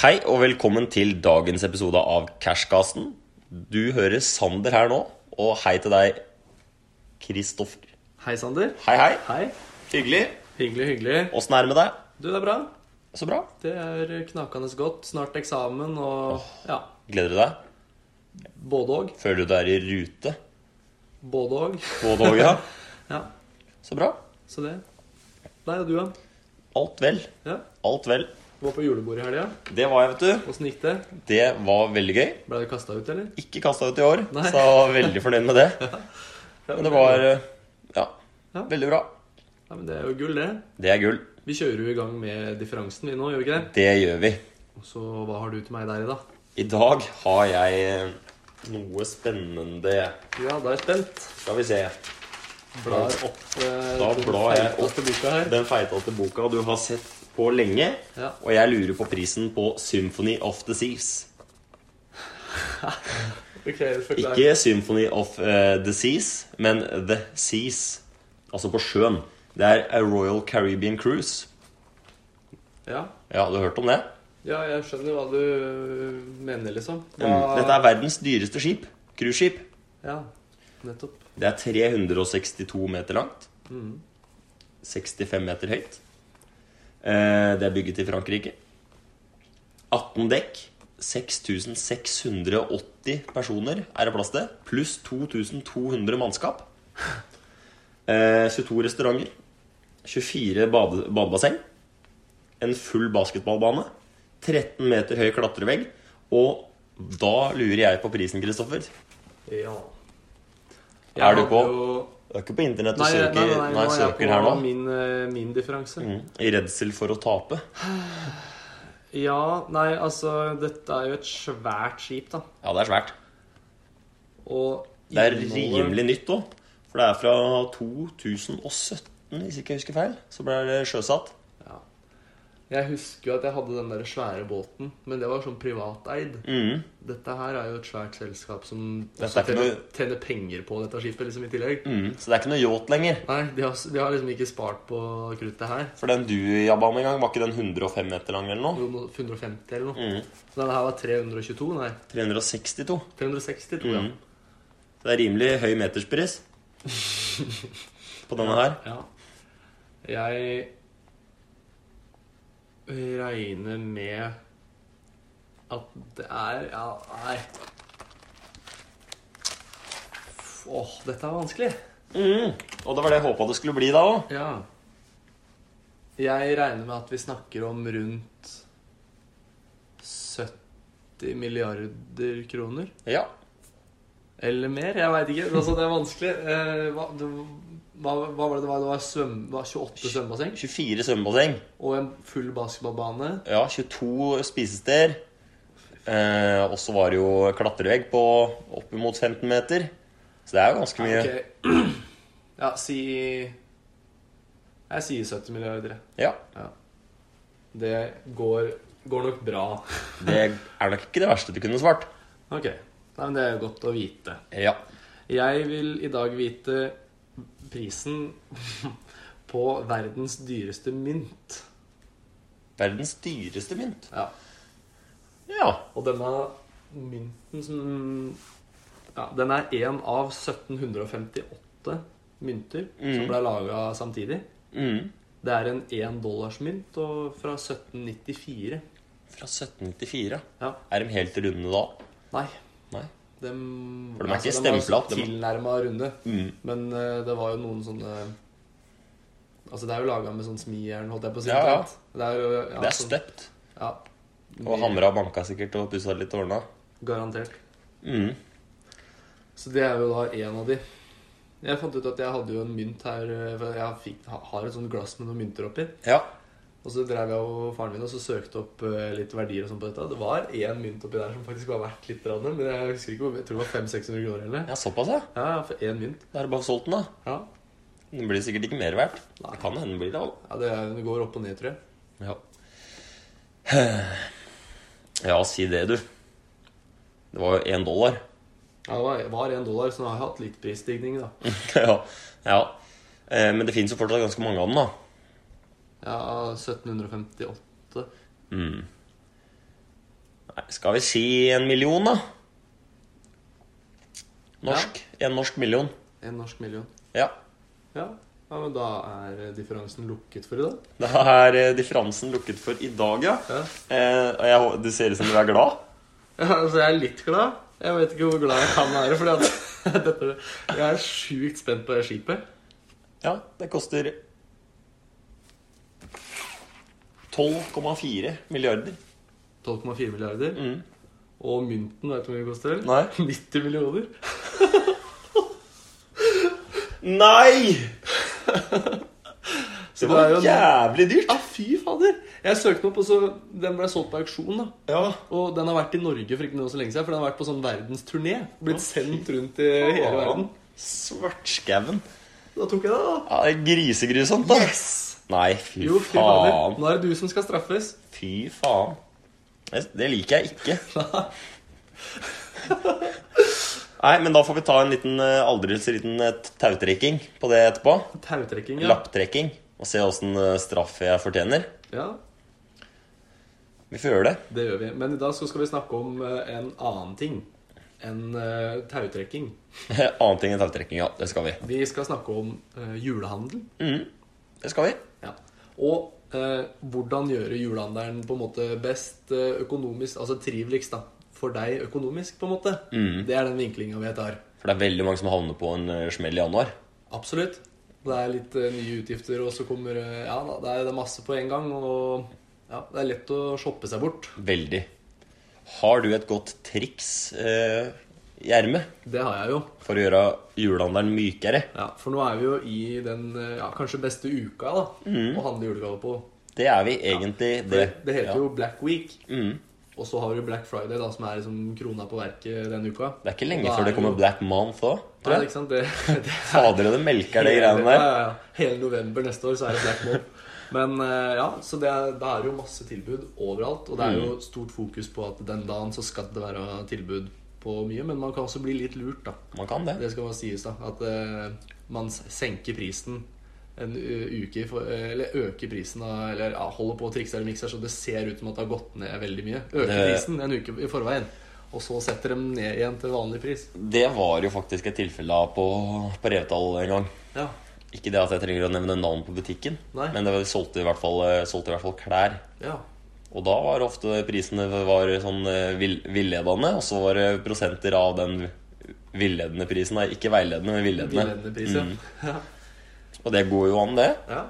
Hei og velkommen til dagens episode av Cashcasten. Du hører Sander her nå, og hei til deg, Kristoffer. Hei, Sander. Hei, hei. Hei. Hyggelig. Hyggelig, hyggelig. Åssen er det med deg? Du, det er bra. Så bra. Det er knakende godt. Snart eksamen og ja, Gleder du deg? både og. Føler du du er i rute Både og. på toget? Ja, Så bra. så det. Nei, og du, da? Alt vel. Ja. Alt vel. Du var på julebord i helga. Det var jeg, vet Åssen gikk det? du. Det var veldig gøy. Ble du kasta ut, eller? Ikke kasta ut i år, Nei. så jeg var veldig fornøyd med det. Men det var eh, ja, Ja. veldig bra. Ja, men Det er jo gull, det. Det er gull. Vi kjører jo i gang med differansen vi nå, gjør vi ikke det? Det gjør vi. Og så hva har du til meg der i dag? I dag har jeg eh, noe spennende Ja, da er jeg spent. Skal vi se. Blar opp eh, Da den blar jeg feiteste opp. boka her. Den feiteste boka du har sett på lenge. Ja. Og jeg lurer på prisen på 'Symphony of the Seas'. Ok, forklar. Ikke 'Symphony of eh, the Seas', men 'The Seas'. Altså på sjøen. Det er A Royal Caribbean Cruise. Ja. Ja, du har hørt om det? ja, jeg skjønner hva du mener, liksom. Mm. Dette er verdens dyreste skip. Cruiseskip. Ja, nettopp. Det er 362 meter langt. 65 meter høyt. Eh, Det er bygget i Frankrike. 18 dekk. 6680 personer er det plass til. Pluss 2200 mannskap. Eh, 22 restauranter. 24 bade badebasseng. En full basketballbane. 13 meter høy klatrevegg. Og da lurer jeg på prisen, Kristoffer. Ja. Er du på? hadde Jo... Du er ikke på internett og Nei, søker, nei, nei, nei, nå er jeg søker på her nå? Min, eh, min differanse. Mm, I redsel for å tape. Ja, nei, altså Dette er jo et svært skip, da. Ja, det er svært. Og Det er innholdet- rimelig nytt òg. For det er fra 2017, hvis ikke jeg husker feil. Så ble det sjøsatt. ja. Jeg husker jo at jeg hadde den der svære båten, men det var sånn privateid. Mm. Dette her er jo et svært selskap som Dette er også ikke tjener, noe- tjener penger på dette skipet, liksom, i tillegg. Mm. Så det er ikke noe yacht lenger. Nei, de har, de har liksom ikke spart på kruttet her. For den du jabba om en gang, var ikke den 105 meter lang eller noe? Jo, noe 150 eller noe. Mm. Så denne her var 322, nei. 362. 360, tror jeg. Mm. Så det er rimelig høy meterspris på denne her. Ja. Jeg regner med at det er Ja, nei. Åh, dette er vanskelig. Mm. Og det var det jeg håpa det skulle bli da òg. Ja. Jeg regner med at vi snakker om rundt 70 milliarder kroner. Ja. Eller mer, jeg veit ikke. Altså, det er vanskelig. Eh, hva, det, hva, hva var det det var? Det var, svøm, var 28 svømmebasseng 24 svømmebasseng. og en full basketballbane. Ja, 22 spisesteder. Eh, og så var det jo klatrevegg på oppimot 15 meter. Så det er jo ganske mye. Ok. Ja, si Jeg sier 70 milliarder. jeg. Ja, Ja. Det går, går nok bra. Det er nok ikke det verste du kunne svart. Ok. Nei, men det er godt å vite. Ja. Jeg vil i dag vite prisen på verdens dyreste mynt. Verdens dyreste mynt. Ja. Ja. Og denne mynten som Ja, den er én av 1758 mynter som Mm. ble laga samtidig. Mm. Det er en 1 dollars mynt og fra 1794. Fra 1794. Ja. Er de helt runde da? Nei. Nei. Dem, altså, For de er ikke var stempla opp, dem- Tilnærma runde. Mm. Men eh, det var jo noen sånne Altså, det er jo laga med sånn smijern, holdt jeg på å si. Ja, ja. omtrent. Det er, jo, ja, Det er sånn- støpt. Ja. Og hamra og banka sikkert og pussa litt og ordna. Garantert. Mm. Så det er jo da en av de. Jeg fant ut at jeg hadde jo en mynt her eh, for Jeg fikk, ha- har et sånt glass med noen mynter oppi. Ja. Og så drev jeg og faren min og så søkte opp eh, litt verdier og sånn på dette. Det var én mynt oppi der som faktisk var verdt litt, grann, men jeg husker ikke hvor Jeg tror det var 500-600 kroner eller ja, såpass, ja. Ja, ja, for én mynt. Da er det bare å få solgt den, da. Ja. Den blir sikkert ikke mer verdt. Nei. Det kan hende den blir det. da. ja, det er- det går opp og ned, tror jeg. Ja. Ja, si det, du. Det var jo én dollar. Ja, det var- var én dollar, så nå har jeg hatt litt prisstigning, da. ja. ja. Eh, Men det fins jo fortsatt ganske mange av dem, da. Ja, 1758. Mm. Nei, skal vi si en million, da? Norsk. En norsk million. En norsk million. Ja. Ja. ja, men da er differansen lukket for i dag. Da er eh, differansen lukket for i dag, ja. Ja. Eh, og jeg, hå- det ser ut som du er glad. Ja, altså, jeg er litt glad. Jeg vet ikke hvor glad jeg kan være. Fordi at dette, jeg er sjukt spent på det skipet. Ja, det koster 12,4 milliarder. 12,4 milliarder. Mm. Og mynten, vet du hvor mye det koster? Nei. 90 millioner. Nei! Så Det var jo en... jævlig dyrt. Ja, fy fader! Jeg søkte den opp, og så den ble solgt på auksjon. da. Ja. Og den har vært i Norge for ikke noe så lenge siden, for den har vært på sånn verdensturné. Blitt sendt rundt i hele verden. Svartskauen. Da tok jeg det, da. Ja, det er Grisegrusomt, da. Nei, fy Jo, fy fader. faen. Nå er det du som skal straffes. Fy faen. Det det liker jeg ikke. Nei, men da får vi ta en liten eh, aldri så liten eh, tautrekking på det etterpå. Tautrekking, ja. Lapptrekking. Og se åssen straff jeg fortjener. ja. Vi får gjøre det. Det gjør vi. Men i dag så skal vi snakke om eh, en annen ting enn eh, tautrekking. Annen ting enn tautrekking, ja. Det skal vi. Vi skal snakke om eh, julehandel. Mm, det skal vi. Ja. Og eh, hvordan gjøre julehandelen på en måte best eh, økonomisk, altså triveligst, da. For deg økonomisk, på en måte. Mm. Det er den vinklinga vi tar. For det er veldig mange som havner på en eh, smell i januar. Absolutt. Det er litt eh, nye utgifter, og så kommer eh, Ja da, det er, det er masse på en gang, og ja, det er lett å shoppe seg bort. Veldig. Har du et godt triks, eh, Gjerme, Det har jeg jo. for å gjøre julehandelen mykere? Ja, For nå er vi jo i den eh, ja, kanskje beste uka da, å handle julegaver på. Det er vi egentlig, Mm. det. Det, det heter Ja. jo Black Week. Mm. Og så har du Black Friday, da, som er liksom krona på verket denne uka. Det er ikke lenge Da før det jo- kommer Black Month òg, Nei, tror jeg. ikke sant? Det, det Fader, det melker de greiene Ja, der. ja, ja. Hele november neste år så er det Black Month. Men eh, ja, så det er, da er det jo masse tilbud overalt. Og det er Mm. jo stort fokus på at den dagen så skal det være tilbud på mye. Men man kan også bli litt lurt, da. Man kan det. Det skal bare sies, da. At eh, man s- senker prisen en u- uke i for, Eller øker prisen da, Eller ja, holder på å trikse eller mikse, så det ser ut som at det har gått ned veldig mye. Øker Det- prisen en uke i forveien. Og så setter de ned igjen til vanlig pris. Det var jo faktisk et tilfelle av på, på Revetal en gang. Ja. Ikke det at jeg trenger å nevne navn på butikken, Nei. men det var, de solgte, i hvert fall, eh, solgte i hvert fall klær. ja. Og da var ofte prisene var sånn eh, vill, villedende, og så var det prosenter av den villedende prisen. Nei, ikke veiledende, men villedende. Villedende pris, ja. Mm. ja. Og det går jo an, det. Ja.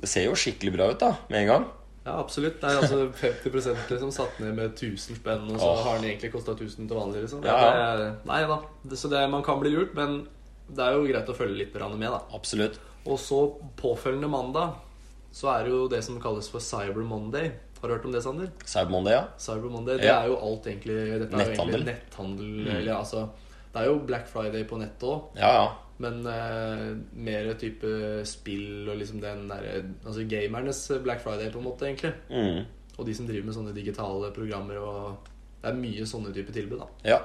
Det ser jo skikkelig bra ut da, med en gang. Ja, absolutt. Det er altså 50 liksom satt ned med 1000 spenn, og så Åh. har den egentlig kosta 1000 til vanlig. liksom. Ja, ja. Det er, nei da. Det, så det, man kan bli lurt, men det er jo greit å følge litt grann med, da. Absolutt. Og så påfølgende mandag så er det jo det som kalles for Cyber Monday. Har du hørt om det, Sander? Sauemandag, ja. Cyber Monday, det Ja. er jo alt egentlig Dette er jo Netthandel. Mm. egentlig netthandel. Eller altså Det er jo Black Friday på nettet òg. Ja, ja. Men eh, mer type spill og liksom den derre Altså gamernes Black Friday, på en måte, egentlig. Mm. Og de som driver med sånne digitale programmer og Det er mye sånne type tilbud, da. Ja.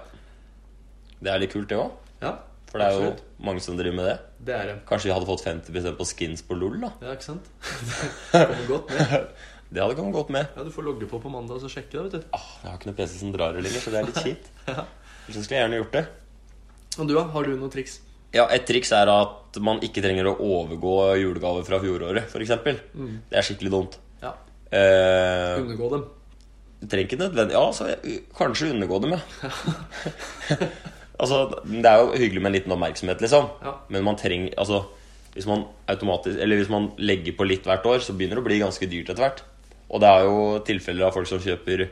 Det er litt kult, det òg. Ja, For det er jo absolutt. mange som driver med det. Det er det. Kanskje de hadde fått 50 på skins på LOL, da. Ja, ikke sant? Det kommer godt med. Det hadde kommet godt med. Ja, Du får logge på på mandag og så sjekke det, vet du. Ah, jeg har ikke noen PC som drar det lenger, så det er litt kjipt. Så skulle jeg gjerne gjort det. Og du, da? Har du noen triks? Ja, Et triks er at man ikke trenger å overgå julegaver fra fjoråret, f.eks. Det er skikkelig dumt. Ja. Eh, Undergå dem. du trenger ikke nødvendig Ja, så jeg, kanskje undergå dem, ja. altså, det er jo hyggelig med en liten oppmerksomhet, liksom. Ja. Men man trenger Altså, hvis man automatisk Eller hvis man legger på litt hvert år, så begynner det å bli ganske dyrt etter hvert. Og det er jo tilfeller av folk som kjøper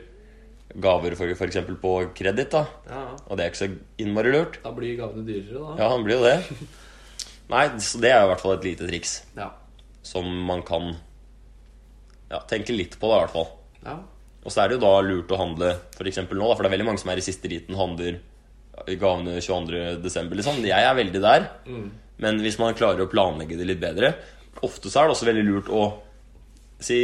gaver for f.eks. på kreditt, da. Ja, ja. Og det er ikke så innmari lurt. Da blir gavene dyrere, da. Ja, han blir jo det. Nei, så det er jo i hvert fall et lite triks Ja. som man kan ja, tenke litt på, da, i hvert fall. ja. Og så er det jo da lurt å handle f.eks. nå, da, for det er veldig mange som er i siste liten, handler i gavene 22.12., liksom. Jeg er veldig der. Mm. Men hvis man klarer å planlegge det litt bedre Ofte så er det også veldig lurt å si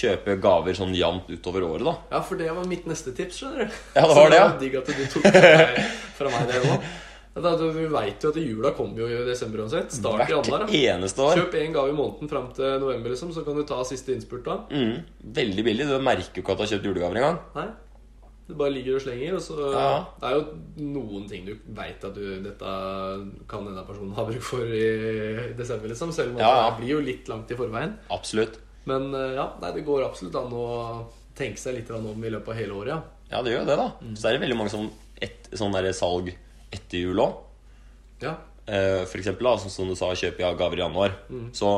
kjøpe gaver sånn jevnt utover året, da. Ja, for det var mitt neste tips, skjønner du. Ja, det var Så det, ja. var digg at du tok fra meg, fra meg det òg. Du veit jo at jula kommer jo i desember uansett. Start i januar. Hvert da. eneste år. Kjøp én gave i måneden fram til november, liksom, så kan du ta siste innspurt da. Mm, veldig billig. Du merker jo ikke at du har kjøpt julegaver engang. Nei? Du bare ligger og slenger, og så Ja. Det er jo noen ting du veit at du Dette kan denne personen ha bruk for i desember, liksom. Selv om Ja, ja. det blir jo litt langt i forveien. Absolutt. Men eh, ja, nei, det går absolutt an å tenke seg litt grann om i løpet av hele året, ja. Ja, det gjør jo det, da. Så er det veldig mange som et, sånn der salg etter jul òg. Ja, Eh, For eksempel, da, som, som du sa, kjøper jeg gaver i januar. Så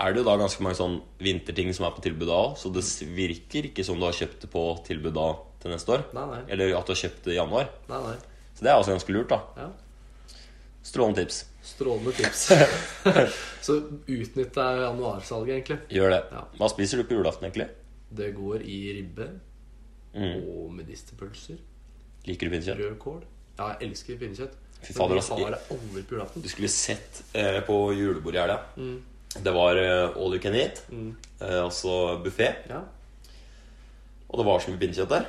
er det jo da ganske mange sånn vinterting som er på tilbud da òg. Så det virker ikke som du har kjøpt det på tilbud da til neste år. Nei, nei. Eller at du har kjøpt det i januar. nei, nei. Så det er også ganske lurt, da. Ja. Strålende tips. Strålende tips. så utnytt deg januarsalget, egentlig. Gjør det. Ja. Hva spiser du på julaften, egentlig? Det går i ribbe Mm. og medisterpølser. Liker du pinnekjøtt? Rødkål. Ja, jeg elsker pinnekjøtt. Fy Men fader, vi altså. har det aldri på julaften. Du skulle sett eh, på julebordet i helga. Mm. Det var eh, all you can eat, eh, altså buffé. Ja. Og det var så mye pinnekjøtt der.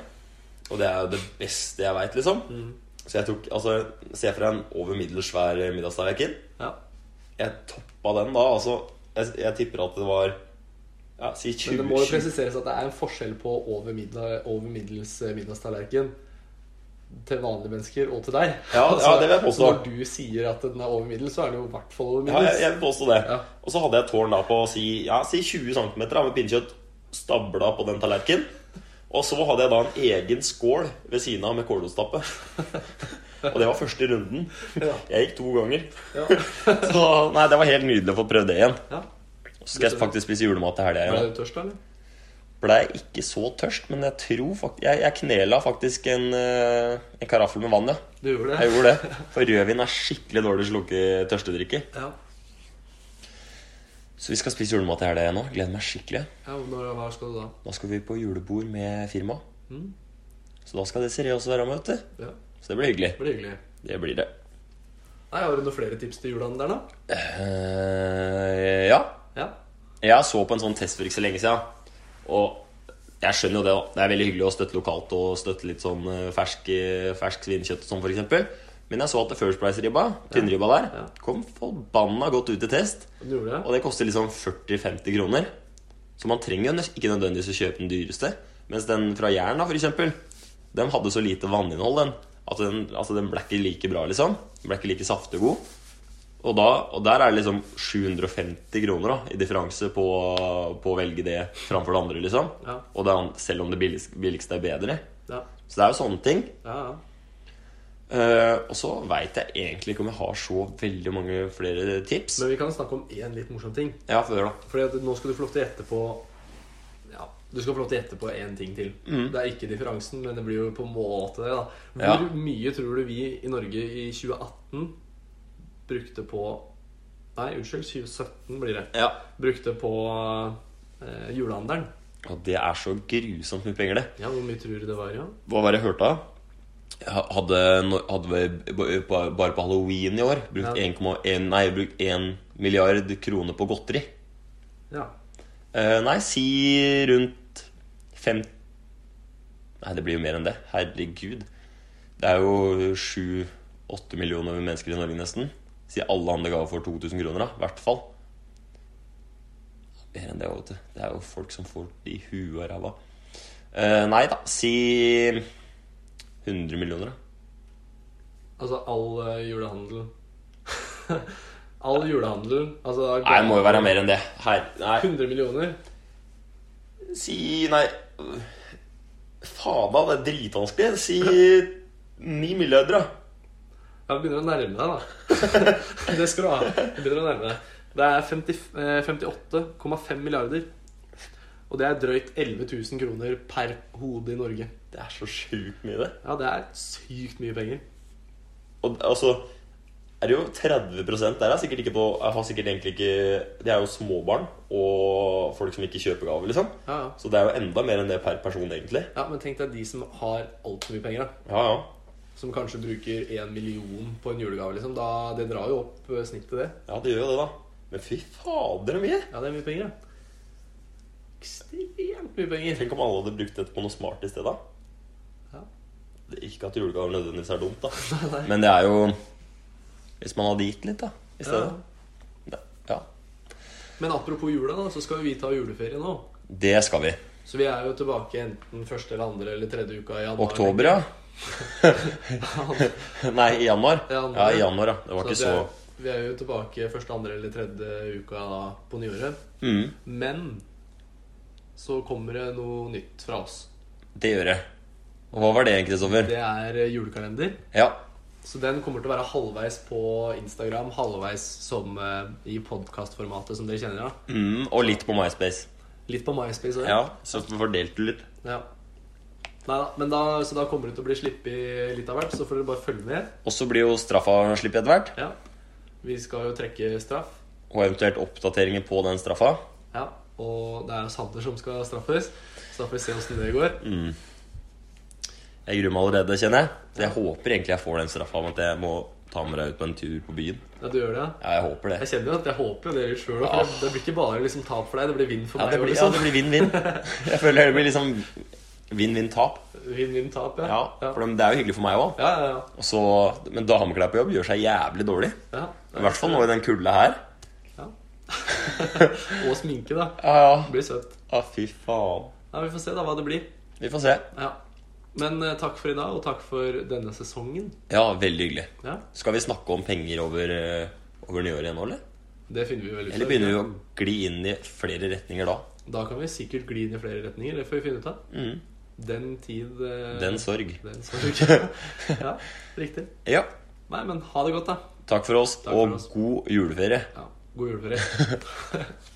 Og det er jo det beste jeg veit, liksom. Mm. Så jeg tok Altså, se for deg en over middels svær middagstallerken. ja. Jeg toppa den da, altså. Jeg, jeg tipper at det var Ja, si 20 Men det må jo 20 presiseres at det er en forskjell på over, middag, over middels eh, middagstallerken til vanlige mennesker og til deg. Altså, Ja, ja, det vil jeg påstå. Når du sier at den er over middels, så er den jo i hvert fall over Ja, jeg, middels. jeg vil påstå det. Ja. Og så hadde jeg et tårn da på si, ja, si 20 cm med pinnekjøtt stabla på den tallerkenen. Og så hadde jeg da en egen skål ved siden av med kålrotstappe. Og det var første runden. Ja. Jeg gikk to ganger. Ja. Så nei, det var helt nydelig å få prøvd det igjen. Ja. Og Så skal jeg faktisk spise julemat i helga Ble igjen. du tørst, da? eller? Blei ikke så tørst, men jeg tror fakt jeg, jeg knela faktisk en, eh, en karaffel med vann, ja. Du gjorde det? Jeg gjorde det. For rødvin er skikkelig dårlig til å slukke tørstedrikker. Ja. Så vi skal spise julemat i helga igjen nå. Gleder meg skikkelig. ja når, hva skal du da? Da skal vi på julebord med firmaet. Mm. Så da skal Desiree også være med, vet du. Ja, Så det blir hyggelig. det blir hyggelig. Det blir det. Nei, Har du noen flere tips til julene der, da? Eh, ja. Ja. Jeg så på en sånn test for ikke så lenge siden. Og jeg skjønner jo det, da. Det er veldig hyggelig å støtte lokalt og støtte litt sånn eh, fersk, eh, fersk svinekjøtt og sånn, for eksempel. Men jeg så at First Price-ribba, tynnribba der, Ja. kom forbanna godt ut i test. Du gjorde Og det? det koster liksom 40-50 kroner. Så man trenger jo nes- ikke nødvendigvis å kjøpe den dyreste. Mens den fra Jæren, da, for eksempel, den hadde så lite vanninnhold, den. At den, altså, den ble ikke like bra, liksom. Den ble ikke like saftig og god. Og, da, og der er det liksom 750 kroner da, i differanse på, på å velge det framfor det andre, liksom. Ja. Og det, an- selv om det billigste, billigste er bedre. Ja. Så det er jo sånne ting. ja, ja. Eh, og så veit jeg egentlig ikke om jeg har så veldig mange flere tips. Men vi kan snakke om én litt morsom ting. Ja, få høre, da. Fordi at nå skal du få lov til å gjette på Ja, du skal få lov til å gjette på én ting til. Det er ikke differansen, men det blir jo på en måte det, da. Hvor Ja. mye tror du vi i Norge i 2018 brukte på Nei, unnskyld, 2017 blir det. Ja. Brukte på eh, julehandelen. Og det er så grusomt mye penger, det. Ja, hvor mye tror du det var, ja? Hva var det jeg hørte av? Jeg Hadde, hadde vi b- b- bare på halloween i år brukt Ja. 1,1 Nei, brukt 1 milliard kroner på godteri. Ja. Eh, nei, si rundt fem... Nei, det blir jo mer enn det. Herregud. Det er jo sju-åtte millioner mennesker i Norge, nesten. Si alle handler gaver for 2000 kroner, da. I hvert fall. Mer enn det, vet du. Det er jo folk som får det i huet og ræva. Eh, nei da, si 100 millioner, da. Altså all eh, julehandel All julehandel altså, Nei, det må jo være mer enn det. Her, nei, 100 millioner. si Nei. øh, Faen, da. Det er dritvanskelig. Si 9 milliarder, da. Ja, du begynner å nærme deg, da. det skal du ha. Du begynner å nærme deg. Det er 50 eh, 58,5 milliarder. Og det er drøyt 11 000 kroner per hode i Norge. Det er så sjukt mye, det. Ja, det er sykt mye penger. Og d- altså er det jo 30 der er sikkert ikke på jeg har sikkert egentlig ikke Det er jo småbarn og folk som ikke kjøper gaver, liksom. Ja, ja. Så det er jo enda mer enn det per person, egentlig. ja Men tenk deg de som har altfor mye penger, da. Ja, ja. Som kanskje bruker én million på en julegave, liksom. Da, det drar jo opp eh, snittet, det. Ja, det gjør jo det, da. Men fy fader, så mye! Ja, det er mye penger, ja. Ekstremt mye penger. Tenk om alle hadde brukt dette på noe smart i stedet. Ja. Det- Ikke at julegaver nødvendigvis er dumt, da. nei. Men det er jo Hvis man hadde gitt litt, da, i stedet. Ja. Men apropos jula, da, så skal jo vi ta juleferie nå. Det skal vi. Så vi er jo tilbake enten første eller andre eller tredje uka i januar. Oktober, ja. Nei, i januar. Januar. Ja, i januar, ja. Det var ikke vi, så er, vi er jo tilbake første, andre eller tredje uka da, på nyåret. mm, Men så kommer det noe nytt fra oss. Det gjør jeg. Og hva var det, Kristoffer? Det er julekalender. Ja. Så den kommer til å være halvveis på Instagram, halvveis som eh, i podkastformatet som dere kjenner. da Mm, og litt på MySpace. Litt på MySpace òg. Ja, så fordelte du litt. Ja. Neida, men da, så da kommer det til å bli sluppet litt av hvert, så får dere bare følge med. Og så blir jo straffa sluppet etter hvert. Ja. Vi skal jo trekke straff. Og eventuelt oppdateringer på den straffa. Ja. Og det er Sander som skal straffes. Så da får vi se åssen det går. Mm. Jeg gruer meg allerede, kjenner jeg. Så jeg håper egentlig jeg får den straffa om at jeg må ta med deg ut på en tur på byen. Ja, du gjør det, ja? Ja, jeg håper det. Jeg kjenner jo at jeg håper jo det litt sjøl òg. Ah. Det, det blir ikke bare liksom tap for deg, det blir vinn for Ja, det meg. blir, ja, også, det sånn. blir vinn-vinn. Jeg føler det blir liksom vinn-vinn-tap. liksom. Vinn-vinn-tap, ja. Ja, for det er jo hyggelig for meg òg. ja, ja. ja. Men dameklær på jobb gjør seg jævlig dårlig. ja. I hvert fall nå i den kulda her. Ja. Og sminke, da. Ja, ja. Det blir søtt. Ja, fy faen. Ja, Vi får se da hva det blir. Vi får se. Ja. Men eh, takk for i dag, og takk for denne sesongen. Ja, veldig hyggelig. Ja, Skal vi snakke om penger over, eh, over nyåret igjen nå, eller? Det finner vi vel ut Eller begynner vi å gli inn i flere retninger da? Da kan vi sikkert gli inn i flere retninger. Det får vi finne ut av. Mm. Den tid eh, Den sorg. Den sorg. ja, riktig. Ja. Nei, men ha det godt, da. Takk for oss, Takk for og oss. god juleferie. Ja, god juleferie.